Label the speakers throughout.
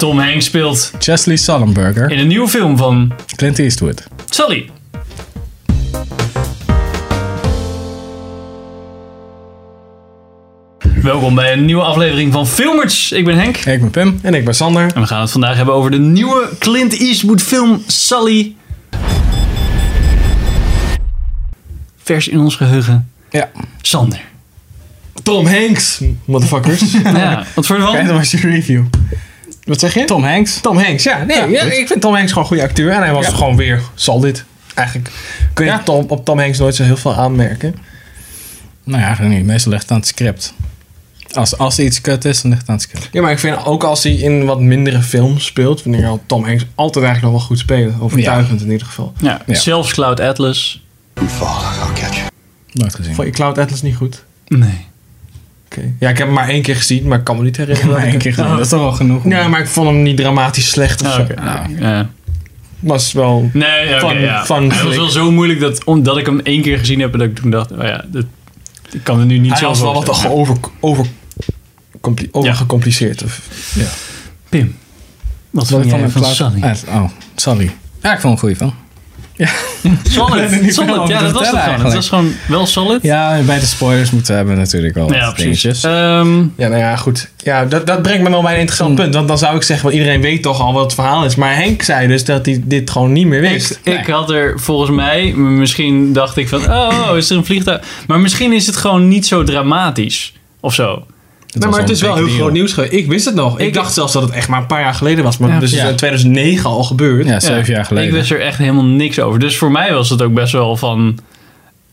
Speaker 1: Tom Hanks speelt
Speaker 2: Chesley Sullenberger.
Speaker 1: in een nieuwe film van
Speaker 2: Clint Eastwood.
Speaker 1: Sully. Welkom bij een nieuwe aflevering van Filmers. Ik ben Henk.
Speaker 2: Ik ben Pim. En ik ben Sander.
Speaker 1: En we gaan het vandaag hebben over de nieuwe Clint Eastwood film Sully. Vers in ons geheugen.
Speaker 2: Ja.
Speaker 1: Sander.
Speaker 3: Tom Hanks, motherfuckers.
Speaker 1: Ja, wat voor
Speaker 3: Kijk,
Speaker 1: van?
Speaker 3: dat was je review. Wat zeg je?
Speaker 2: Tom Hanks.
Speaker 3: Oh. Tom Hanks, ja. Nee,
Speaker 2: Ja,
Speaker 3: ja,
Speaker 2: goed.
Speaker 3: ik vind Tom Hanks gewoon een goede acteur. En hij was
Speaker 2: Ja.
Speaker 3: gewoon weer solid. Eigenlijk kun je
Speaker 2: Ja.
Speaker 3: Tom, op Tom Hanks nooit zo heel veel aanmerken.
Speaker 2: Nou ja, eigenlijk niet. Meestal ligt het aan het script. Als, als iets kut is, dan ligt het aan het script.
Speaker 3: Ja, maar ik vind ook als hij in wat mindere films speelt, vind ik al Tom Hanks altijd eigenlijk nog wel goed spelen. Overtuigend in ieder geval.
Speaker 1: Ja,
Speaker 2: Ja.
Speaker 1: zelfs Cloud Atlas.
Speaker 2: Nooit gezien.
Speaker 3: Vond je Cloud Atlas niet goed?
Speaker 1: Nee.
Speaker 3: Oké. Ja, ik heb hem maar één keer gezien, maar ik kan me niet herinneren. dat
Speaker 2: Maar
Speaker 3: ik
Speaker 2: één keer
Speaker 3: het-
Speaker 2: gedaan. Dat is toch wel genoeg?
Speaker 3: Ja, maar ik vond hem niet dramatisch slecht of
Speaker 1: Ah,
Speaker 3: zo.
Speaker 1: oké.
Speaker 2: Nou,
Speaker 1: Ja.
Speaker 3: Was wel...
Speaker 1: Nee, oké,
Speaker 3: Van-
Speaker 1: ja.
Speaker 3: van
Speaker 1: Het was wel
Speaker 3: flik.
Speaker 1: zo moeilijk dat omdat ik hem één keer gezien heb, dat ik toen dacht, oh ja, dit, ik kan er nu niet
Speaker 3: Hij
Speaker 1: zo
Speaker 3: was wel wat
Speaker 1: voorstellen.
Speaker 3: over, over, compli- overgecompliceerd. Of,
Speaker 1: Pim, wat
Speaker 2: Wat
Speaker 1: vond jij
Speaker 2: een
Speaker 1: van
Speaker 2: cloud-
Speaker 1: Sully?
Speaker 2: Ah, Oh, Sully. Ja, ik vond hem goed van. Ik weet er
Speaker 1: Solid,
Speaker 2: niet veel
Speaker 1: solid.
Speaker 2: over
Speaker 1: Ja,
Speaker 2: te
Speaker 1: dat was het
Speaker 2: vertellen
Speaker 1: gewoon. Het was gewoon wel solid.
Speaker 2: Ja, bij de spoilers moeten we hebben natuurlijk al
Speaker 1: Ja,
Speaker 2: wat
Speaker 1: precies.
Speaker 2: dingetjes.
Speaker 1: Ehm,
Speaker 3: Ja, nou ja, goed. Ja, dat, dat brengt me wel bij een interessant punt. Want dan zou ik zeggen, want iedereen weet toch al wat het verhaal is. Maar Henk zei dus dat hij dit gewoon niet meer wist.
Speaker 1: Ik, ik had er volgens mij, misschien dacht ik van, oh, is er een vliegtuig? Maar misschien is het gewoon niet zo dramatisch of zo.
Speaker 2: Dat was wel een big deal.
Speaker 3: nieuws geweest. Ik wist het nog. eh, Ik,
Speaker 1: Ik-
Speaker 3: dacht zelfs dat het echt maar een paar jaar geleden was. Maar
Speaker 1: Ja,
Speaker 3: dus is
Speaker 2: ja.
Speaker 3: in 2009 al gebeurd.
Speaker 2: Ja, zeven jaar geleden.
Speaker 1: Ik wist er echt helemaal niks over. Dus voor mij was het ook best wel van,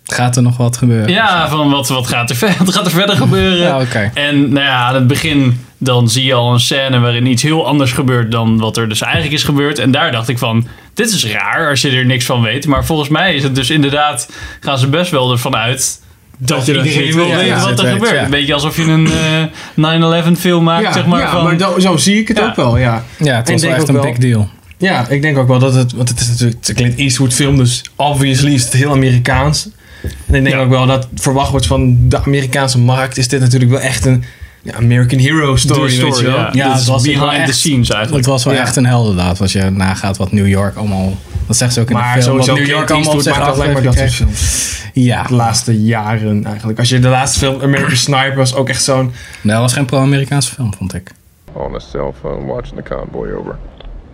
Speaker 2: Gaat er nog wat gebeuren?
Speaker 1: ja, van wat, wat, gaat, er ver- wat gaat er verder gebeuren?
Speaker 2: Ja, oké.
Speaker 1: En nou ja, aan het begin dan zie je al een scène waarin iets heel anders gebeurt dan wat er dus eigenlijk is gebeurd. En daar dacht ik van, dit is raar als je er niks van weet. Maar volgens mij is het dus inderdaad, gaan ze best wel ervan uit dat,
Speaker 3: je dat
Speaker 1: iedereen
Speaker 3: weet,
Speaker 1: wil
Speaker 3: ja,
Speaker 1: weten
Speaker 2: ja,
Speaker 1: wat
Speaker 2: dat
Speaker 1: er
Speaker 2: weet,
Speaker 1: gebeurt.
Speaker 2: ja.
Speaker 1: Een beetje alsof je een eh, 9-11 film maakt,
Speaker 3: Ja,
Speaker 1: zeg maar.
Speaker 3: ja,
Speaker 1: van,
Speaker 3: maar zo, zo zie ik het
Speaker 1: Ja.
Speaker 3: ook wel, ja.
Speaker 2: Ja, het was
Speaker 3: En
Speaker 2: wel
Speaker 3: denk
Speaker 2: echt
Speaker 3: ook
Speaker 2: een
Speaker 3: wel-
Speaker 2: big deal.
Speaker 3: Ja, ik denk ook wel dat het... Want het is natuurlijk het Clint Eastwood film, dus obviously is het heel Amerikaans. En ik denk
Speaker 1: Ja.
Speaker 3: ook wel dat verwacht wordt van de Amerikaanse markt... is dit natuurlijk wel echt een ja, American hero
Speaker 1: de
Speaker 3: story,
Speaker 1: story,
Speaker 3: weet je wel.
Speaker 1: ja.
Speaker 2: Ja,
Speaker 1: Dus
Speaker 2: het was wel
Speaker 1: behind the
Speaker 2: echt-
Speaker 1: scenes eigenlijk.
Speaker 2: Het was wel
Speaker 3: Ja.
Speaker 2: echt een heldendaad als je nagaat wat New York allemaal. Dat zegt ze ook in
Speaker 3: Maar
Speaker 2: de film.
Speaker 3: sowieso
Speaker 2: wat New York allemaal op zich
Speaker 3: maakt alleen maar dat soort
Speaker 2: afgekregen.
Speaker 3: films.
Speaker 2: Ja,
Speaker 3: De laatste jaren eigenlijk. Als je de laatste film American Sniper was ook echt zo'n...
Speaker 2: dat was geen pro-Amerikaanse film, vond ik.
Speaker 4: on a cell phone watching the convoy over.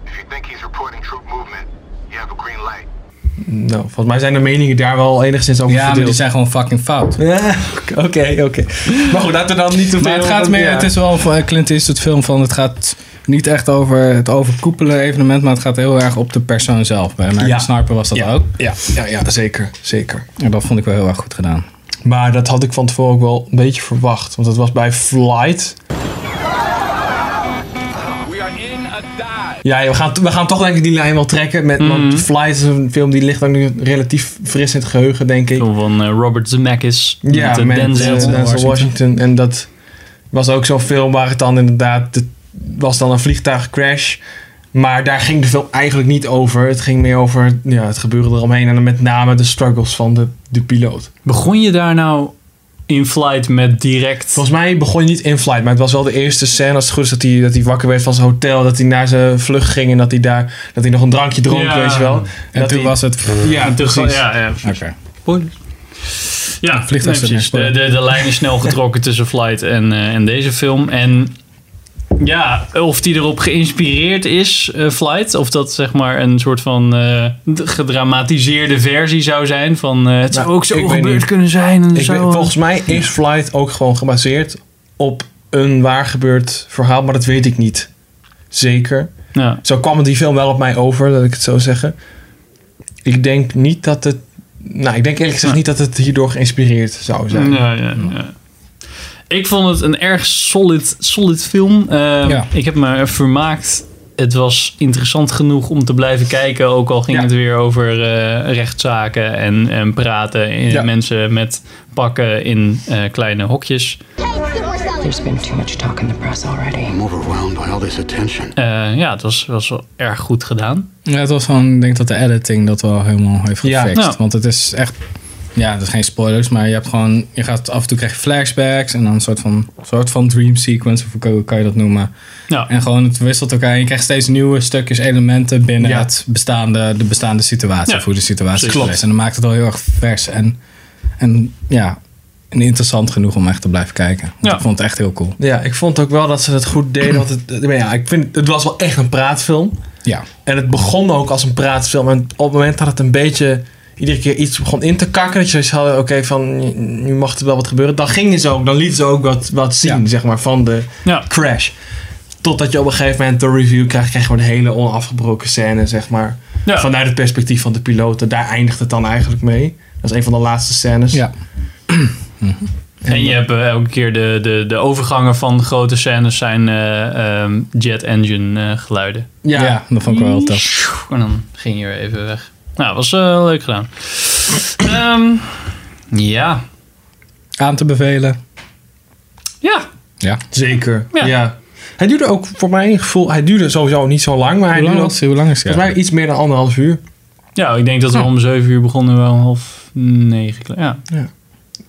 Speaker 5: If you think he's reporting troop movement, you have a green light.
Speaker 3: Nou, volgens mij zijn de meningen daar wel enigszins over
Speaker 2: Ja, maar die
Speaker 3: verdeeld.
Speaker 2: zijn gewoon fucking fout.
Speaker 3: Ja, oké, oké, oké. Maar goed, laten we dan niet te veel...
Speaker 2: Maar het gaat meer, het is wel van eh, Clint Eastwood film van, het gaat niet echt over het overkoepelende evenement, maar het gaat heel erg op de persoon zelf. Bij American
Speaker 3: Ja.
Speaker 2: Sniper was dat
Speaker 3: ja,
Speaker 2: ook.
Speaker 3: Ja, ja, ja, zeker, zeker.
Speaker 2: En dat vond ik wel heel erg goed gedaan.
Speaker 3: Maar dat had ik van tevoren ook wel een beetje verwacht. Want dat was bij Flight. Ja, we gaan, we gaan toch denk ik die lijn wel trekken. Met,
Speaker 1: Mhm.
Speaker 3: Want Flight is een film die ligt ook nu relatief fris in het geheugen, denk ik.
Speaker 1: Film van eh, Robert Zemeckis.
Speaker 3: Ja,
Speaker 1: met, eh,
Speaker 3: met
Speaker 1: Denzel.
Speaker 3: eh, Denzel Washington. En dat was ook zo'n film waar het dan inderdaad... Het was dan een vliegtuigcrash. Maar daar ging de film eigenlijk niet over. Het ging meer over ja, het gebeuren eromheen. En dan met name de struggles van de, de piloot.
Speaker 1: Begon je daar nou in flight met direct...
Speaker 3: Volgens mij begon je niet in flight. Maar het was wel de eerste scène, als het goed is, dat hij, dat hij wakker werd van zijn hotel. Dat hij naar zijn vlucht ging. En dat hij, daar, dat hij nog een drankje dronk,
Speaker 1: Ja.
Speaker 3: weet je wel.
Speaker 2: En
Speaker 3: dat
Speaker 2: toen
Speaker 3: hij-
Speaker 2: was het... Oké.
Speaker 3: Ja,
Speaker 1: Toen-
Speaker 3: precies.
Speaker 1: Ja, ja, Ja,
Speaker 2: vliegtuig
Speaker 1: nee,
Speaker 2: zit
Speaker 1: precies.
Speaker 2: in
Speaker 1: De,
Speaker 2: spoor.
Speaker 1: de, de lijn is snel getrokken tussen Flight en, eh, en deze film. En ja, of die erop geïnspireerd is, eh, Flight. Of dat zeg maar een soort van eh, d- gedramatiseerde versie zou zijn. Van eh, het zou
Speaker 3: Nou,
Speaker 1: ook zo
Speaker 3: ik weet
Speaker 1: gebeurd
Speaker 3: niet.
Speaker 1: kunnen zijn. En
Speaker 3: Ik
Speaker 1: zo.
Speaker 3: weet- volgens mij is Flight ook gewoon gebaseerd op een waar gebeurd verhaal, maar dat weet ik niet. Zeker.
Speaker 1: ja.
Speaker 3: Zo kwam het die film wel op mij over, dat ik het zo zeggen. Ik denk niet dat het. Nou, ik denk eerlijk gezegd niet dat het hierdoor geïnspireerd zou zijn.
Speaker 1: Ja, ja, ja. Ik vond het een erg solid, solid film. Ehm,
Speaker 2: Ja.
Speaker 1: Ik heb me vermaakt. Het was interessant genoeg om te blijven kijken. Ook al ging
Speaker 3: Ja.
Speaker 1: het weer over eh, rechtszaken en, en praten. En
Speaker 3: Ja.
Speaker 1: Mensen met pakken in eh, kleine hokjes.
Speaker 6: There's been too much talk in the press already.
Speaker 5: I'm overwhelmed by all this attention.
Speaker 1: Eh, ja, het was, was wel erg goed gedaan.
Speaker 2: Ja, het was gewoon, ik denk dat de editing dat wel helemaal heeft
Speaker 3: Ja.
Speaker 2: gefixt.
Speaker 1: Nou.
Speaker 2: Want het is echt ja, dat is geen spoilers, maar je hebt gewoon, je gaat af en toe krijg je flashbacks en dan een soort van, soort van dream sequence, of hoe kan- hoe kan je dat noemen.
Speaker 1: Ja.
Speaker 2: En gewoon het wisselt elkaar en je krijgt steeds nieuwe stukjes elementen binnen
Speaker 3: Ja.
Speaker 2: het bestaande, de bestaande situatie,
Speaker 1: Ja,
Speaker 2: of hoe de situatie
Speaker 1: precies.
Speaker 2: is. En dat maakt het wel heel erg vers en, en ja, en interessant genoeg om echt te blijven kijken. Want
Speaker 1: Ja.
Speaker 2: Ik vond het echt heel cool.
Speaker 3: Ja, ik vond ook wel dat ze het goed deden. Want het, maar ja, ik vind, het was wel echt een praatfilm.
Speaker 2: Ja,
Speaker 3: En het begon ook als een praatfilm. En op het moment had het een beetje... Iedere keer iets begon in te kakken. Dat je zoiets had, oké, van nu mag er wel wat gebeuren. Dan gingen ze ook, dan lieten ze ook wat, wat zien,
Speaker 2: Ja.
Speaker 3: zeg maar, van de
Speaker 1: Ja.
Speaker 3: crash. Totdat je op een gegeven moment de review krijgt. Krijg je gewoon een hele onafgebroken scène, zeg maar.
Speaker 1: Ja.
Speaker 3: Vanuit het perspectief van de piloten. Daar eindigt het dan eigenlijk mee. Dat is een van de laatste scènes.
Speaker 2: ja.
Speaker 1: En je hebt eh, elke keer de, de, de overgangen van grote scènes zijn eh, ehm, jet engine eh, geluiden.
Speaker 3: Ja.
Speaker 2: ja. dat vond ik wel heel tof.
Speaker 1: En dan ging je weer even weg. Nou, was eh, leuk gedaan. Ehm, ja.
Speaker 2: Aan te bevelen.
Speaker 1: Ja.
Speaker 2: Ja.
Speaker 3: Zeker.
Speaker 1: Ja.
Speaker 3: Ja. Hij duurde ook, voor mijn gevoel, hij duurde sowieso niet zo lang. Maar hij
Speaker 2: Hoe lang,
Speaker 3: duurde
Speaker 2: was, hoe lang is het?
Speaker 3: volgens mij iets meer dan anderhalf uur.
Speaker 1: Ja, ik denk dat we om zeven uur begonnen, wel om half negen. klaar. Ja.